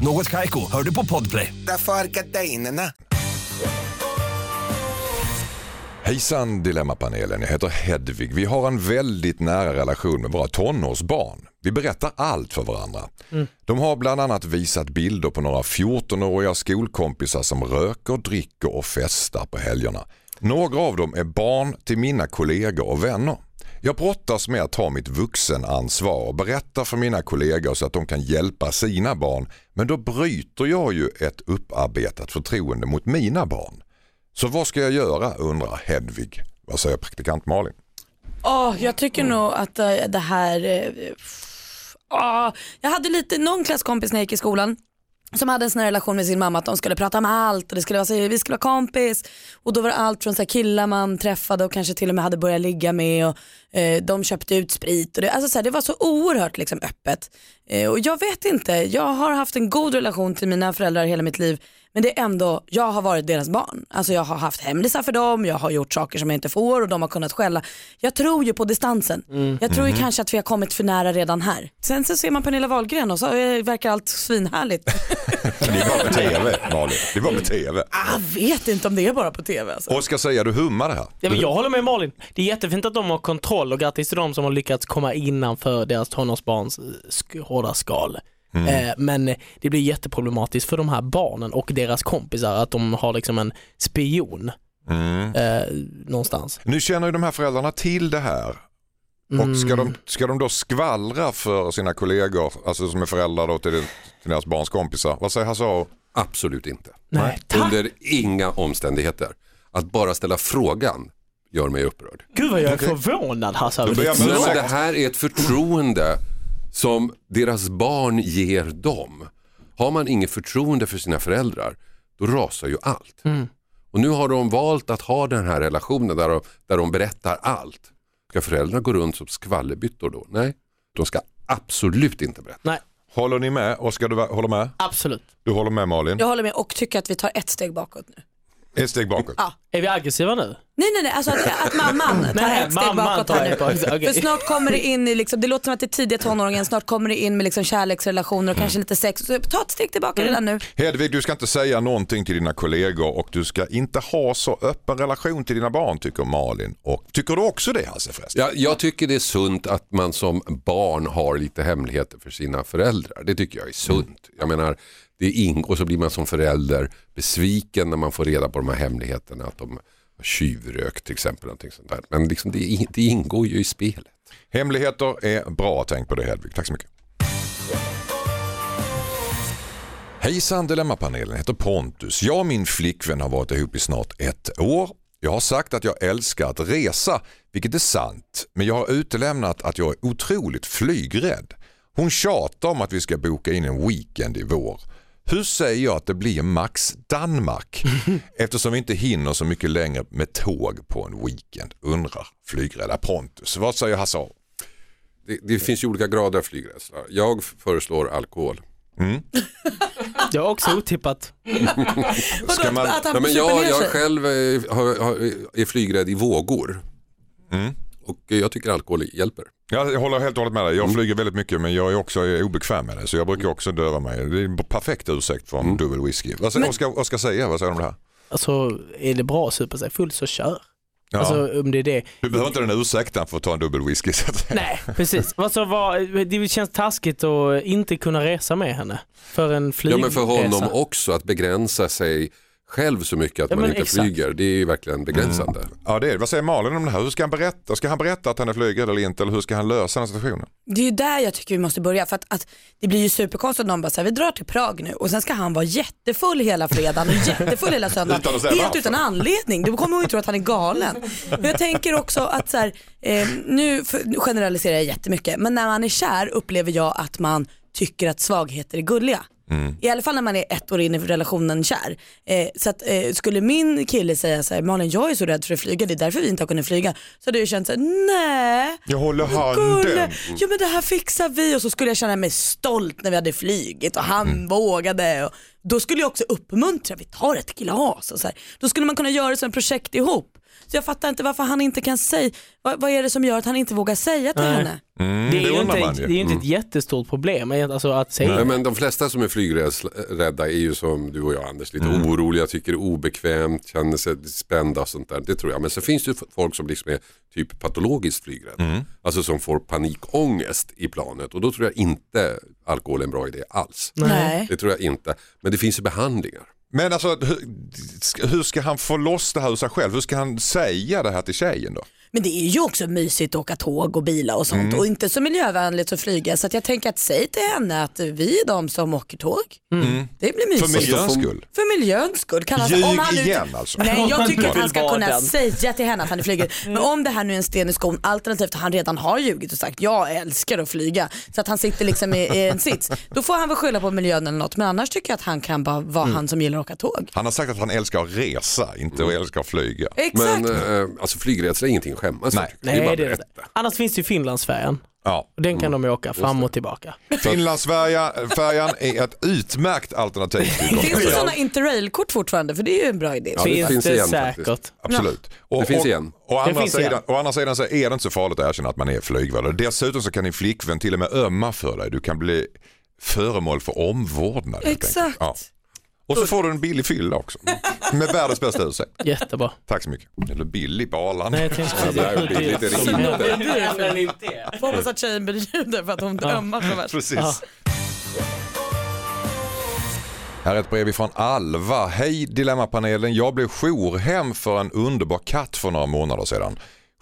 Något Kaiko, hör du på Podplay.
Därför arkadeinerna.
Hejsan Dilemmapanelen, jag heter Hedvig. Vi har en väldigt nära relation med våra tonårsbarn. Vi berättar allt för varandra. De har bland annat visat bilder på några 14-åriga skolkompisar som röker, dricker och festar på helgerna. Några av dem är barn till mina kollegor och vänner. Jag brottas med att ta mitt vuxenansvar och berätta för mina kollegor så att de kan hjälpa sina barn. Men då bryter jag ju ett upparbetat förtroende mot mina barn. Så vad ska jag göra undrar Hedvig. Vad säger praktikant Malin?
Åh, jag tycker
Mm.
nog att eh, det här... eh, åh, jag hade lite, någon klasskompis när jag gick i skolan som hade en sån här relation med sin mamma att de skulle prata om allt och det skulle vara så, här, vi skulle vara kompis och då var det allt från så här killar man träffade och kanske till och med hade börjat ligga med och eh, de köpte ut sprit och det, alltså så här, det var så oerhört liksom öppet eh, och jag vet inte, jag har haft en god relation till mina föräldrar hela mitt liv men det är ändå, jag har varit deras barn. Alltså jag har haft hemlisar för dem, jag har gjort saker som jag inte får och de har kunnat skälla. Jag tror ju på distansen. Jag tror ju kanske att vi har kommit för nära redan här. Sen så ser man Pernilla Wahlgren och så eh, verkar allt svinhärligt. <laughs>
Det är bara på tv Malin. Det är bara på tv.
Jag vet inte om det är bara på tv alltså.
Oskar säger du hummar det här.
Ja, men jag håller med Malin. Det är jättefint att de har kontroll och grattis till de som har lyckats komma innanför deras tonårsbarns eh, sk- hårda skal.
Mm.
Eh, Men det blir jätteproblematiskt för de här barnen och deras kompisar att de har liksom en spion eh, någonstans.
Mm. Nu känner ju de här föräldrarna till det här. Och
Mm.
ska, de, ska de då skvallra för sina kollegor, alltså som är föräldrar då till, till deras barns kompisar? Vad säger Hasse Aro?
Absolut inte.
Nej, tack!
Under inga omständigheter. Att bara ställa frågan gör mig upprörd.
Gud vad jag är förvånad Hasse. över
Då börjar
ditt-
man-
Men det här är ett förtroende som deras barn ger dem. Har man inget förtroende för sina föräldrar, då rasar ju allt. Och nu har de valt att ha den här relationen där de, där de berättar allt. Ska föräldrarna gå runt som skvallerbyttor då? Nej, de ska absolut inte berätta.
Nej,
Håller ni med? Oskar, du va- håller med?
absolut.
Du håller med Malin?
Jag håller med och tycker att vi tar ett steg bakåt nu.
Ett steg bakåt.
Är vi aggressiva nu?
Nej nej nej, alltså att, att <laughs> mamman tar
Nej,
ett steg
mamman
bakåt
tar
här
ett
nu.
bakåt, okej.
För snart kommer det in i, liksom, det låter som att det är tidiga tonåringen, snart kommer det in med liksom kärleksrelationer och kanske lite sex. Så ta ett steg tillbaka redan nu.
Hedvig, du ska inte säga någonting till dina kollegor och du ska inte ha så öppen relation till dina barn tycker Malin. Och, tycker du också det Hasse förresten?
Jag, jag tycker det är sunt att man som barn har lite hemligheter för sina föräldrar. Det tycker jag är sunt. Jag menar, det ingår och så blir man som förälder besviken när man får reda på de här hemligheterna. Att de har tjuvrökt till exempel. Någonting sånt där. Men liksom, det, in- det ingår ju i spelet.
Hemligheter är bra, tänk på det Hedvig. Tack så mycket. Hejsan Dilemmapanelen, heter Pontus. Jag och min flickvän har varit ihop i snart ett år. Jag har sagt att jag älskar att resa, vilket är sant, men jag har utelämnat att jag är otroligt flygrädd. Hon tjatar om att vi ska boka in en weekend i vår. Hur säger jag att det blir max Danmark? Eftersom vi inte hinner så mycket längre med tåg på en weekend, undrar flygrädda Pontus. Vad säger Hasse Aro?
Det, det finns ju olika grader av flygrädsla. Jag f- föreslår alkohol.
Det var också otippat.
Ska man...
Att han
Nej, men
super
jag,
ner
jag
sig.
själv eh, har, har, är flygrädd i vågor. Och eh, jag tycker alkohol hjälper.
Ja, Jag håller helt och hållet med dig. Jag flyger väldigt mycket men jag är också obekväm med det. Så jag brukar också döva mig. Det är en perfekt ursäkt från dubbel whisky. Vad säger Oskar, Oskar säga? Vad säger du om det här?
Alltså är det bra att supa sig full så kör.
Ja.
Alltså om det är det.
Du behöver inte den ursäkten för att ta en dubbel whisky. Så att...
Nej,
<laughs>
precis. Alltså, vad, det känns taskigt att inte kunna resa med henne för en
Ja
flygresa.
men för honom också att begränsa sig själv så mycket att
Ja,
man
men
inte
exakt.
flyger. Det är ju verkligen begränsande.
Ja, det är det. Vad säger Malin om det här? Hur ska han berätta? Ska han berätta att han är flygrädd eller inte? Eller hur ska han lösa den här situationen?
Det är ju där jag tycker vi måste börja för att, att det blir ju superkonstigt om någon bara säger vi drar till Prag nu och sen ska han vara jättefull hela fredagen och jättefull hela söndagen.
Utan att säga
Helt
varför.
utan anledning. Då kommer hon ju tro att han är galen. Men jag tänker också att så här, eh, nu, för, nu generaliserar jag jättemycket men när man är kär upplever jag att man tycker att svagheter är gulliga.
Mm.
I alla fall när man är ett år in i relationen kär. Eh, så att, eh, skulle min kille säga så här, Malin jag är så rädd för att flyga, det är därför vi inte har kunnat flyga. Så hade jag ju känt så här, nej.
Jag håller
Gulle, ja men det här fixar vi och så skulle jag känna mig stolt när vi hade flygit och han vågade. Och då skulle jag också uppmuntra, vi tar ett glas och så här. Då skulle man kunna göra som projekt ihop. Så jag fattar inte varför han inte kan säga, vad, vad är det som gör att han inte vågar säga till henne?
Mm,
Det är ju
undrar
inte,
man
det är ju inte
Mm.
ett jättestort problem alltså, att säga.
Ja, men de flesta som är flygrädda är ju som du och jag Anders, lite oroliga, tycker det är obekvämt, känner sig spända och sånt där. Det tror jag. Men så finns det ju folk som liksom är typ patologiskt flygrädda. Alltså som får panikångest i planet och då tror jag inte alkohol är en bra idé alls.
Nej.
Det tror jag inte. Men det finns ju behandlingar.
Men alltså, hur, ska- hur ska han få loss det här ur sig själv? Hur ska han säga det här till tjejen då?
Men det är ju också mysigt att åka tåg och bila och sånt och inte så miljövänligt att flyga så att jag tänker att säg till henne att vi är de som åker tåg. Det blir mysigt.
För miljöns skull.
För miljöns skull. Kan han, om
Ljug
han nu-
igen
<laughs>
alltså.
Nej, jag tycker att
vill
han ska
vara
kunna
den.
säga till henne att han är flygrädd. Men om det här nu är en sten i skon, alternativt att han redan har ljugit och sagt jag älskar att flyga, så att han sitter liksom i, i en sits. Då får han väl skylla på miljön eller något, men annars tycker jag att han kan bara vara
Mm.
han som gillar att åka tåg.
Han har sagt att han älskar att resa, inte att älskar att flyga.
Exakt.
Men eh, alltså flygrädsla är ingenting att skämmas för.
Nej.
tycker jag. Det är bara
Nej,
att
det är det.
berätta. Mm.
Annars finns det ju Finlandsfärjan.
Ja.
Och Den kan de åka fram och tillbaka.
Finlandsfärjan är ett utmärkt alternativ. till
Finns det
Gotland.
sådana interrailkort fortfarande? För det är ju en bra idé.
Ja, det
finns
finns
det
igen
säkert.
faktiskt.
Absolut. Och,
Det finns
och,
igen.
Å andra,
finns
sidan,
igen.
å andra sidan så är det inte så farligt att erkänna att man är flygvärd. Dessutom så kan din flickvän till och med ömma för dig. Du kan bli föremål för omvårdnad. helt enkelt.
Exakt.
Ja. Och så får du en billig fylla också. Med världens bästa ursäkt.
Jättebra.
Tack så mycket. Eller billig på Arlanda.
Nej, jag tänkte precis-
det här är billigt, det är
Så
inte.
billigt är det inte.
Jag hoppas att tjejen bjuder för att hon ömmar så värst.
Precis.
Ja.
Här är ett brev ifrån Alva. Hej Dilemmapanelen. Jag blev jourhem för en underbar katt för några månader sedan.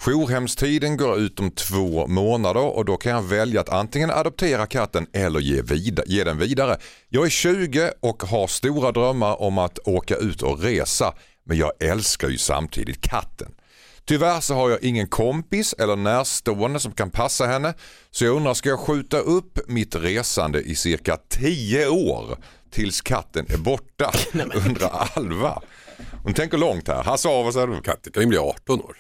Jourhemstiden går ut om två månader och då kan jag välja att antingen adoptera katten eller ge, vida, ge den vidare. Jag är 20 och har stora drömmar om att åka ut och resa men jag älskar ju samtidigt katten. Tyvärr så har jag ingen kompis eller närstående som kan passa henne så jag undrar ska jag skjuta upp mitt resande i cirka 10 år tills katten är
<laughs>
borta? Undrar Alva. Hon tänker långt här. Hasse av och sen <laughs>
Katter kan ju bli 18 år.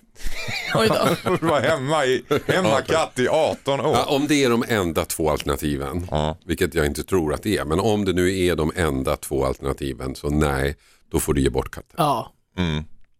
var hemma i hemma katt i 18 år.
Ja, om det är de enda två alternativen,
Ja.
vilket jag inte tror att det är, men om det nu är de enda två alternativen så nej, då får du ge bort katten.
Ja.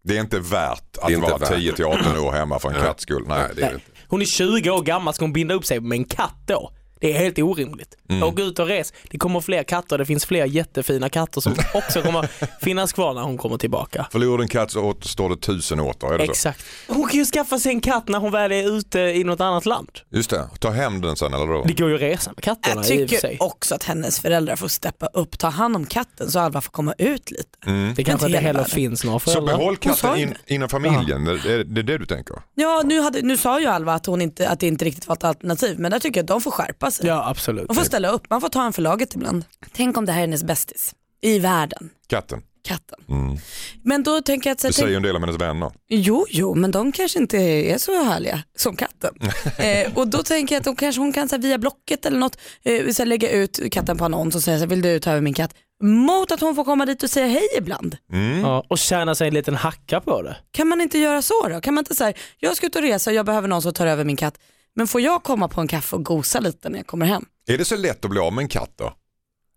Det är inte värt att
Det är inte
vara
värt.
10 till 18 år hemma för en katts skull. Nej.
Nej, det är det inte.
Hon är 20 år gammal, ska hon binda upp sig med en katt då? Det är helt orimligt. Och gå ut och res. Det kommer fler katter, det finns fler jättefina katter som också kommer finnas kvar när hon kommer tillbaka.
Förlorar du en katt så återstår det tusen åter. Är det så?
Exakt. Hon kan ju skaffa sig en katt när hon väl är ute i något annat land.
Just det, ta hem den sen eller då?
Det går ju att resa med katterna
Jag
i och för sig.
tycker också att hennes föräldrar får steppa upp, ta hand om katten så Alva får komma ut lite.
Det kanske
Inte
inte
hela
heller
världen.
finns några
Så
föräldrar.
behåll katten
sa ju
in, inom familjen, det är det, är det du tänker?
Ja, nu, hade, nu sa ju Alva att, hon inte, att det inte riktigt var ett alternativ, men där tycker jag att de får skärpa sig.
Ja, absolut.
Man får ställa upp, man får ta en förlaget ibland. Tänk om det här är hennes bästis i världen,
Katten,
katten. Men då tänker jag att... Så
Mm. det
jag tänk,
säger ju en del av hennes vänner.
Jo, jo, men de kanske inte är så härliga som
<laughs>
katten. eh, och då tänker jag att hon kanske hon kan så här, via Blocket eller något eh, så här, lägga ut katten på annons och säga så här, vill du ta över min katt? Mot att hon får komma dit och säga hej ibland.
Ja, och tjäna sig en liten hacka på det.
Kan man inte göra så då? Kan man inte säga, jag ska ut och resa och jag behöver någon som tar över min katt. Men får jag komma på en kaffe och gosa lite när jag kommer hem?
Är det så lätt att bli av med en katt då?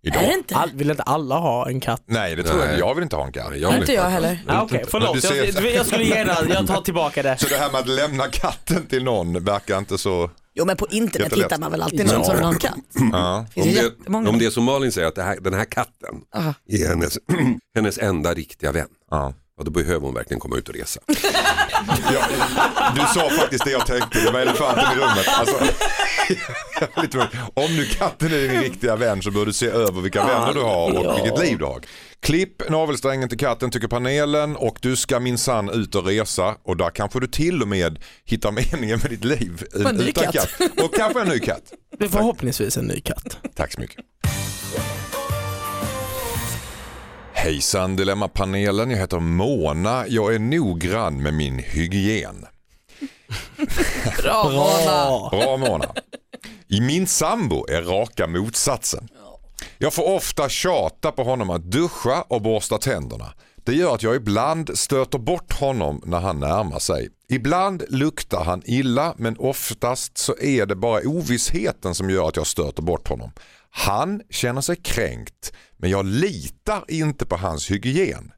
Idag?
Är det inte?
All, vill inte alla ha en katt?
Nej, det tror jag
Nej.
inte. Jag vill inte ha en katt.
Nej,
Ja,
vill
inte jag heller.
Ah, Okej,
Du
förlåt.
ser-
Jag, jag skulle ge den, jag tar tillbaka det.
Så det här med att lämna katten till någon verkar inte så...
Jo men på internet
Jättelätt.
hittar man väl alltid någon som har en katt.
Ja.
Det finns ju
Om
jättemånga.
det, om det är som Malin säger, att det här, den här katten <clears throat>
Aha.
är hennes, hennes enda riktiga vän.
Ja.
ja, då behöver hon verkligen komma ut och resa.
Ja, du sa faktiskt det jag tänkte, det var elefanten i rummet. Alltså, <laughs> lite roligt. Om nu katten är din riktiga vän så bör du se över vilka vänner du har och vilket liv du har. Klipp navelsträngen till katten tycker panelen och du ska minsann ut och resa och där kanske du till och med hittar meningen med ditt liv
en ny
utan
katt.
katt. Och kanske en ny katt.
Det är förhoppningsvis en ny katt.
Tack så mycket. Hejsan Dilemmapanelen, jag heter Mona. Jag är noggrann med min hygien.
Bra, Mona.
Bra Mona. I Min sambo är raka motsatsen. Jag får ofta tjata på honom att duscha och borsta tänderna. Det gör att jag ibland stöter bort honom när han närmar sig. Ibland luktar han illa men oftast så är det bara ovissheten som gör att jag stöter bort honom. Han känner sig kränkt men jag litar inte på hans hygien.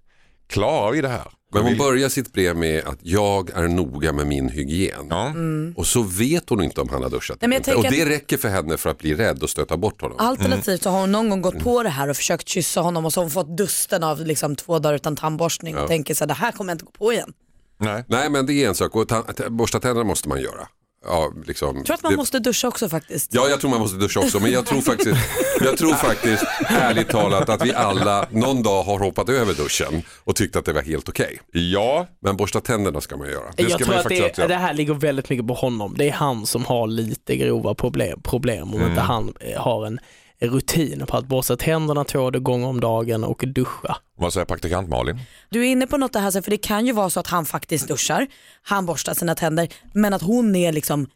Klarar vi det här?
Men hon börjar sitt brev med att jag är noga med min hygien.
Ja.
Och så vet hon inte om han har duschat
Nej, men jag
eller inte. Och
tänker
det räcker för henne för att bli rädd och stöta bort honom.
Alternativt så har hon någon gång gått på det här och försökt kyssa honom och så har hon fått dusten av liksom två dagar utan tandborstning och tänker så här, det här kommer jag inte gå på igen.
Nej.
Nej men det är en sak och ta- ta- borsta tänderna måste man göra. Ja, liksom,
Jag tror att man
det-
måste duscha också faktiskt.
Ja, jag tror man måste duscha också, men jag tror faktiskt, jag tror faktiskt ärligt talat att vi alla någon dag har hoppat över duschen och tyckt att det var helt okej.
Ja,
Men borsta tänderna ska man göra.
ska
Jag tror
man
att
faktiskt
det,
göra.
det här ligger väldigt mycket på honom. Det är han som har lite grova problem, problem om inte han eh, har en rutin på att borsta tänderna två gånger om dagen och duscha.
vad säger praktikant Malin?
Du är inne på något det här, för det kan ju vara så att han faktiskt duschar, han borstar sina tänder, men att hon är liksom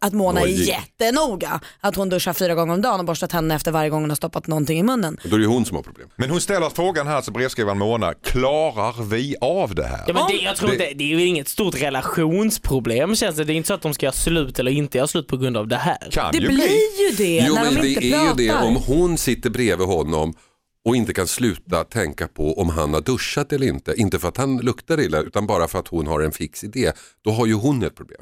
att Mona är
Nojig.
jättenoga. Att hon duschar fyra gånger om dagen och borstar tänderna efter varje gång hon har stoppat någonting i munnen.
Då är det ju hon som har problem.
Men hon ställer frågan här till brevskrivaren Mona, klarar vi av det här?
Ja, men det, jag tror inte, det är ju inget stort relationsproblem känns det. Det är inte så att de ska göra slut eller inte göra slut på grund av det här.
Kan
Det
ju bli.
blir ju det
Jo,
när
men
de
det
inte
är ju
pratar.
det om hon sitter bredvid honom och inte kan sluta tänka på om han har duschat eller inte. Inte för att han luktar illa utan bara för att hon har en fix idé. Då har ju hon ett problem.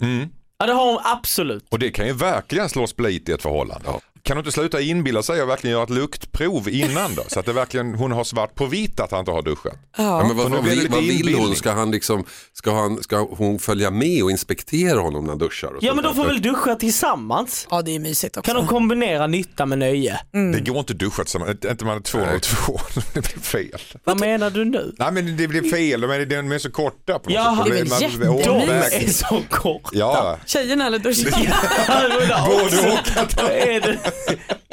Ja det har hon absolut.
Och det kan ju verkligen slå split i ett förhållande. Kan du inte sluta inbilla sig och verkligen göra ett luktprov innan då? Så att det verkligen, hon har svart på vitt att han inte har duschat.
Ja, men vad,
Och nu
vad,
blir det
vill,
lite
vad vill hon?
inbildning.
Ska, han liksom, ska, han, ska hon följa med och inspektera honom när han duschar? och
Ja
sånt
men de
där?
får väl duscha tillsammans.
Ja det är mysigt också.
Kan de kombinera nytta med nöje?
Det går inte att duscha tillsammans, inte inte man är 202. <laughs> Det blir fel.
Vad menar du nu?
Nej men det blir fel, men de är så korta på något
Jaha,
sätt. Det
det är
blir- man-
jättemysigt.
De
åväg.
är så korta.
Ja,
Tjejerna eller duschen?
både och.
Vad är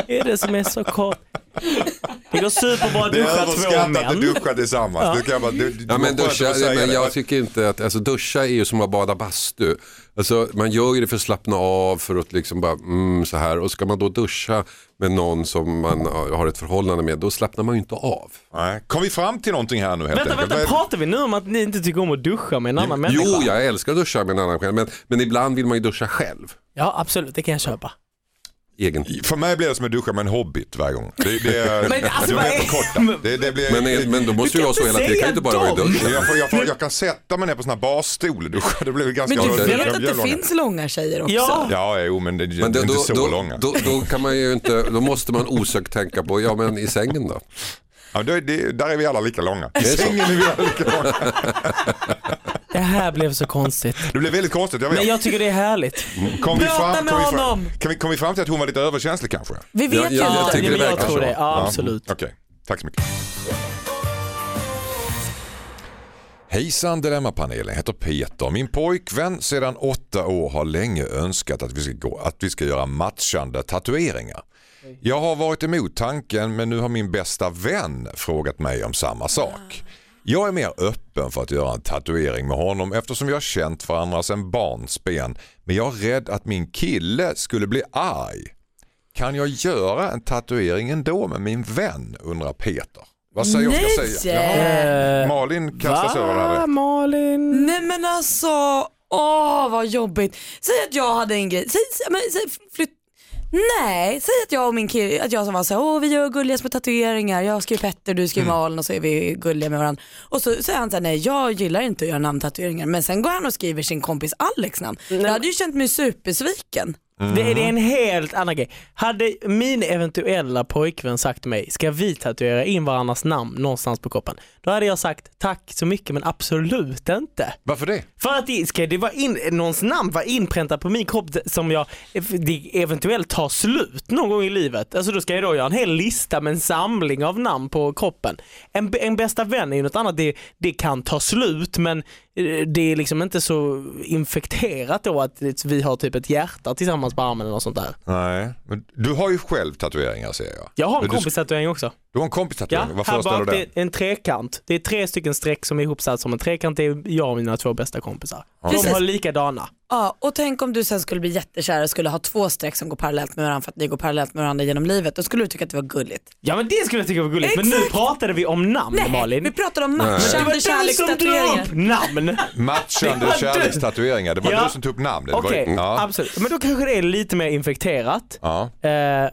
det, är det som är så kort? Det går superbra att
Det är
duscha två
överskattat att
män.
duscha tillsammans. Det kan jag bara, du, du,
Ja, men
vad skönt
duscha,
att säga
men
det.
jag tycker inte att, alltså duscha är ju som att bada bastu. Alltså, man gör ju det för att slappna av, för att liksom bara, mm, så här. Och ska man då duscha med någon som man har ett förhållande med, då slappnar man ju inte av.
Nej. Kom vi fram till någonting här nu helt
Vänta,
enkelt?
vänta,
Vad-
pratar vi nu om att ni inte tycker om att duscha med en annan människa?
Jo, jag älskar att duscha med en annan själv, men, men ibland vill man ju duscha själv.
Ja, absolut, det kan jag köpa.
Egen.
För mig blir det som att duscha med en hobbit varje gång. Det, det är,
Men alltså,
de
vad
är
är-
för korta. Det, det blir,
Men, men då måste
Du kan
ju vara så
inte
hela tiden, det kan ju
säga
inte bara vara i
dem.
duschen.
jag, får, jag, får, jag kan sätta mig ner på sån här barstol och duscha. Det blir ganska
Men du
jag- jag-
vet
jag
att
blir
det
långa.
finns långa tjejer också?
Ja,
Ja, jo, men det,
Men
det
då,
är inte
då,
så
då,
långa.
då, då kan man ju inte, då måste man osökt tänka på, ja men i sängen då?
ja, det, det, där är vi alla lika långa. I
det så?
sängen är vi alla lika långa.
det här blev så konstigt.
Det blev väldigt konstigt, jag vet.
Men jag tycker det är härligt.
kom, vi fram,
Prata med
kom, vi fram,
honom.
kan vi, kom vi fram till att hon var lite överkänslig kanske?
Vi vet
Jag-
ju
jag- jag
inte.
tycker-
Nej, men
det
jag
verkar
tror
så.
det, ja, absolut.
mm, Okej, tack så mycket. Hejsan Dilemmapanelen, heter Peter. Min pojkvän sedan åtta år har länge önskat att vi ska, gå, att vi ska göra matchande tatueringar. Jag har varit emot tanken men nu har min bästa vän frågat mig om samma sak. Jag är mer öppen för att göra en tatuering med honom eftersom vi har känt varandra sedan barnsben men jag är rädd att min kille skulle bli arg. Kan jag göra en tatuering ändå med min vän? undrar Peter. Vad säger jag ska säga? Jaha. Malin kastas över det här.
Malin?
Nej men alltså, åh vad jobbigt. Säg att jag hade en grej, säg, säg- men, säg flytt. Nej, säg att jag och min kille, att jag som var så här, åh vi gör gulliga små tatueringar, jag skriver Petter, du skriver
Mm.
Malin och så är vi gulliga med varandra. Och så säger han så här, nej jag gillar inte att göra namntatueringar men sen går han och skriver sin kompis Alex namn. Jag hade ju känt mig supersviken.
Det, är- det är en helt annan grej. Hade min eventuella pojkvän sagt till mig, ska vi tatuera in varandras namn någonstans på kroppen? Då hade jag sagt tack så mycket men absolut inte.
Varför det?
För att det ska det vara in, någons namn var inpräntat på min kropp som jag det eventuellt tar slut någon gång i livet. Alltså då ska jag då göra en hel lista med en samling av namn på kroppen. En, en bästa vän är ju något annat, det, det kan ta slut men eh, det är liksom inte så infekterat då att det- vi har typ ett hjärta tillsammans på armen eller något sånt där.
Nej. Men du har ju själv tatueringar ser jag.
Jag har en
Men du,
kompis tatuering också.
Du har en kompis
Ja,
tatuering, vad
här
föreställer
bak
du
det är
den?
en trekant. Det är tre stycken streck som är ihopsatt som en trekant. Det är jag och mina två bästa kompisar. De
Precis.
har likadana.
Ja, och tänk om du sen skulle bli jättekär och skulle ha två streck som går parallellt med varandra för att ni går parallellt med varandra genom livet. Då skulle du tycka att det var gulligt.
Ja men det skulle jag tycka var gulligt, men nu pratade vi om namn Malin.
vi pratar om
det var
matchande
du som tog
kärlekstatueringar.
upp
<laughs>
namn! <laughs> Det
Matchande
var du.
kärlekstatueringar, det var
Ja.
du som tog upp namn. Det var-
Okej,
ja.
absolut. Men då kanske det är lite mer infekterat.
Ja.
Eh,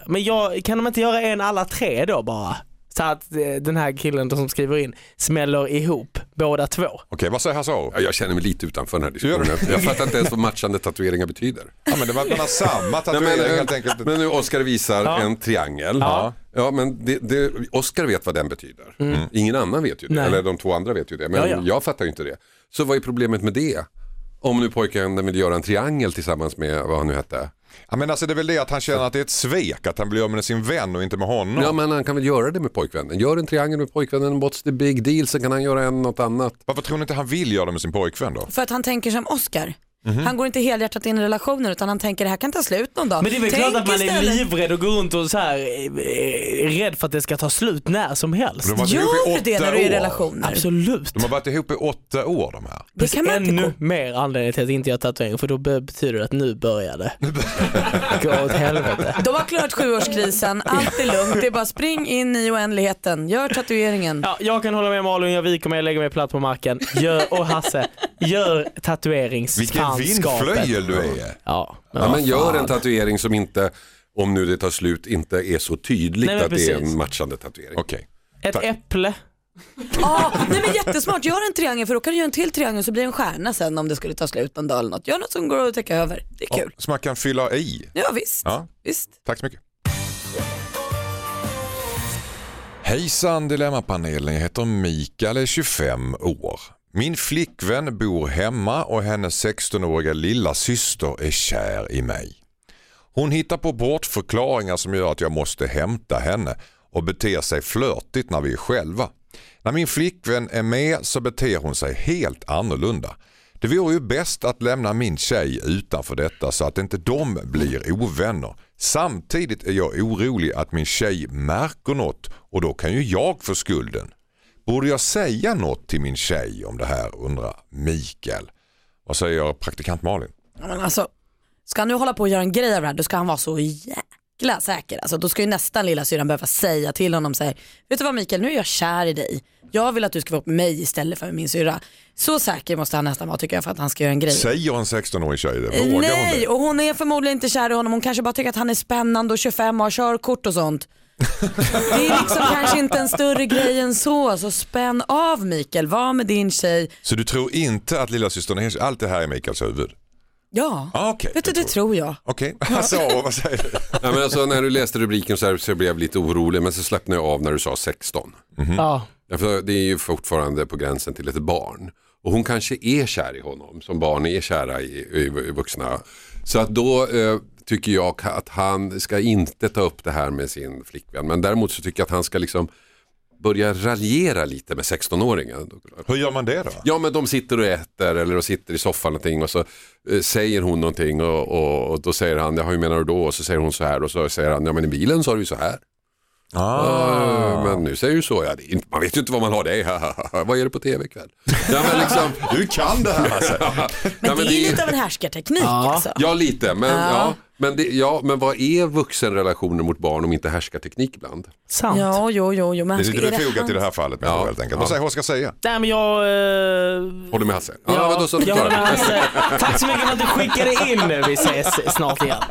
men jag, kan de inte göra en alla tre då bara? Så att eh, den här killen som skriver in smäller ihop båda två.
Okej, vad säger Hasse Aro?
Ja, Jag känner mig lite utanför den här
Gör
diskussionen.
du?
Jag fattar inte ens vad matchande tatueringar betyder.
Ja, men det var att man har samma tatuering helt enkelt.
men nu Oscar visar en triangel.
Ja.
Ja. men det, det, Oscar vet vad den betyder. Mm. Ingen annan vet ju det.
Nej.
Eller de två andra vet ju det. Men
Ja, ja.
jag fattar ju inte det. Så vad är problemet med det? Om nu pojken vill göra en triangel tillsammans med vad han nu hette.
Ja, men alltså, det är väl det att han känner att det är ett svek att han blir av med sin vän och inte med honom.
Ja, men han kan väl göra det med pojkvännen. Gör en triangel med pojkvännen, what's the big deal? Sen kan han göra en något annat.
Varför tror ni inte han vill göra det med sin pojkvän då?
För att han tänker som Oscar.
Mhm.
Han går inte helhjärtat in i relationen utan han tänker det här kan ta slut någon dag.
Men det är väl
Tänk
klart att man är
istället-
livrädd och går runt och så här, eh, eh, rädd för att det ska ta slut när som helst.
De har varit ihop i
Gör du
åtta
det när du är i
år.
relationer?
Absolut.
De har varit ihop i åtta år de här.
Det kan man inte gå.
Ännu mer anledning till att inte göra tatuering för då be- betyder det att nu börjar det gå åt helvete.
De har
<laughs>
klarat sjuårskrisen, allt är lugnt, det är bara spring in i oändligheten, gör tatueringen.
Ja, jag kan hålla med Malin, jag viker mig, jag lägger mig platt på marken. Gör, och Hasse, gör
Vilken
tatueringsfanskapet.
vindflöjel du är.
Ja,
Ja, men
vad
gör
fan.
en tatuering som inte, om nu det tar slut, inte är så tydligt
Nej, men
att det är
precis.
en matchande tatuering.
Okej.
Ett äpple.
Ah, nej men jättesmart, gör en triangel för då kan du göra en till triangel så blir det en stjärna sen om det skulle ta slut någon dag eller något. Gör något som går att täcka över, det är
Ja,
kul.
så man kan fylla i.
Ja visst,
Ja.
visst.
Tack så mycket. Hejsan Dilemmapanelen, jag heter Mikael, är 25 år. Min flickvän bor hemma och hennes 16-åriga lilla syster är kär i mig. Hon hittar på bortförklaringar som gör att jag måste hämta henne och beter sig flörtigt när vi är själva. När min flickvän är med så beter hon sig helt annorlunda. Det vore ju bäst att lämna min tjej utanför detta så att inte de blir ovänner. Samtidigt är jag orolig att min tjej märker något och då kan ju jag få skulden. Borde jag säga något till min tjej om det här undrar Mikael. Vad säger praktikant Malin?
Ja, Men alltså, ska han nu hålla på och göra en grej av det här då ska han vara så jäkla säker. Alltså, då ska ju nästan lilla syrran behöva säga till honom så här, vet du vad Mikael, nu är jag kär i dig. Jag vill att du ska vara med mig istället för med min syrra. Så säker måste han nästan vara tycker jag för att han ska göra en grej.
Säger en 16-årig tjej det? Vågar hon
Nej,
det?
och hon är förmodligen inte kär i honom. Hon kanske bara tycker att han är spännande och 25 och har körkort och sånt. Det är liksom kanske inte en större grej än så. Så spänn av Mikael, var med din tjej.
Så du tror inte att lilla systern är Allt det här är Mikaels huvud?
Ja,
Ah, Okej,
vet du det tror jag.
Okej, <laughs> alltså, vad säger du?
Ja, men alltså, när du läste rubriken så, här, så blev jag lite orolig men så slappnade jag av när du sa 16.
Ja.
Ja, för det är ju fortfarande på gränsen till ett barn. Och hon kanske är kär i honom som barn är kära i, i, i vuxna. Så att då eh, tycker jag att han ska inte ta upp det här med sin flickvän. Men däremot så tycker jag att han ska liksom börja raljera lite med 16-åringen.
Hur gör man det då?
Ja men de sitter och äter eller de sitter i soffan någonting och så eh, säger hon någonting och, och, och då säger han, ja hur menar du då? Och så säger hon så här och så säger han, ja men i bilen sa du ju så här.
Ah.
"Ja, Men nu säger du så, ja, det är inte, man vet ju inte vad man har det Vad är det på tv ikväll? ja, men liksom,
Du kan det här alltså.
ja,
Men det är lite av en härskarteknik alltså.
Ja lite, men, ja. men, det, ja, men vad är vuxenrelationer mot barn om inte härskarteknik ibland?
Sant.
Ja, jo, jo, jo. Men
Det
han
är
ska-
lite
är det
befogat i
han-
det här fallet menar jag
Ja.
helt enkelt. Vad säger Håkan säga?
Nej men jag... Eh,
Håller med Hasse? Ja, vadå, så
jag håller med
förklara.
Hasse. Tack så mycket för att du skickade in. Vi ses snart igen.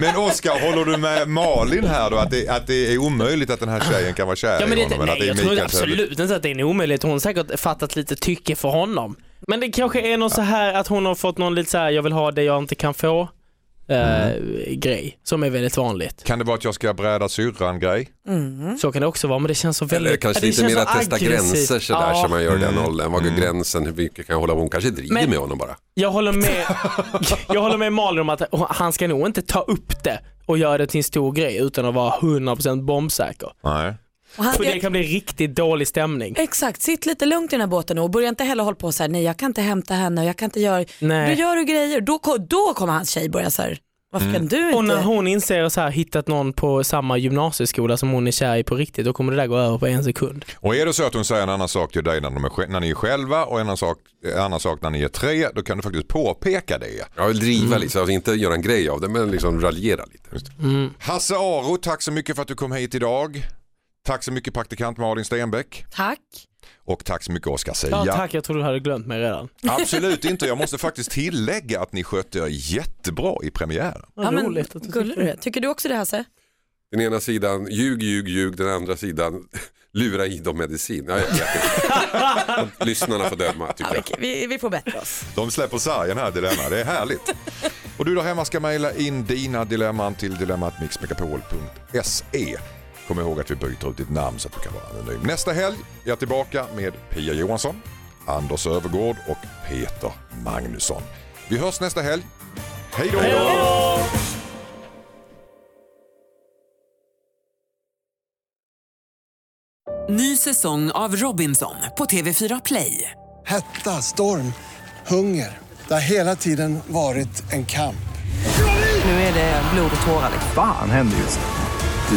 Men Oskar, håller du med Malin här då att det, att det är omöjligt att den här tjejen kan vara kär
Ja, men det,
i honom? men att
nej,
det är
jag tror
Mikaels huvud?
absolut inte att det är en omöjlighet. Hon har säkert fattat lite tycke för honom. Men det kanske är någon så här att hon har fått någon lite så här jag vill ha det jag inte kan få eh,
Mm.
grej som är väldigt vanligt.
Kan det vara att jag ska bräda syrran grej?
Så kan det också vara men det känns så väldigt
Eller kanske
det
lite
känns
mer
så
att testa
aggressivt.
gränser sådär
Ja,
som man gör i den åldern. Var går gränsen? Hur mycket kan jag hålla på? Hon kanske driver
Men-
med honom bara.
Jag håller
<laughs>
med, jag håller med Malin om att han ska nog inte ta upp det och göra det till en stor grej utan att vara 100% bombsäker.
Nej.
Och han,
För det kan bli riktigt dålig stämning.
Exakt, sitt lite lugnt i den här båten och börja inte heller hålla på så här, nej jag kan inte hämta henne och jag kan inte göra,
Nej.
då gör du grejer, då, ko- då kommer hans tjej börja så här, varför
Mm.
kan du
Och när
inte?
hon inser att ha hittat någon på samma gymnasieskola som hon är kär i på riktigt, då kommer det där gå över på en sekund.
Och är det så att hon säger en annan sak till dig när, de är, sj- när ni är själva och en annan sak, en annan sak när ni är tre, då kan du faktiskt påpeka det.
Jag vill driva liksom, alltså, inte göra en grej av det men liksom raljera lite.
Hasse Aro, tack så mycket för att du kom hit idag. Tack så mycket praktikant Malin Stenbeck
Tack.
och tack så mycket Oskar Sia.
Ja, Tack, <laughs> jag trodde du hade glömt mig redan.
Absolut inte, jag måste faktiskt tillägga att ni skötte er jättebra i premiären.
Vad roligt att du
gullig du är. Tycker du också det Hasse?
Den ena sidan, ljug, ljug, ljug. Den andra sidan, <laughs> lura i dem medicin. Ja, jag
<laughs>
vet inte. Lyssnarna får döma tycker jag.
Okej, vi, vi får bättre oss.
De släpper sargen här Dilemma, det är härligt. Och du där hemma ska mejla in dina dilemman till dilemmatmixmegapol.se. Kom ihåg att vi byter ut ditt namn så att du kan vara anonym. Nästa helg är jag tillbaka med Pia Johansson, Anders Övergård och Peter Magnusson. Vi hörs nästa helg. Hej då!
Ny säsong av Robinson på TV4 Play.
Hetta, storm, hunger. Det har hela tiden varit en kamp.
Nu är det blod och tårar.
Fan händer just nu.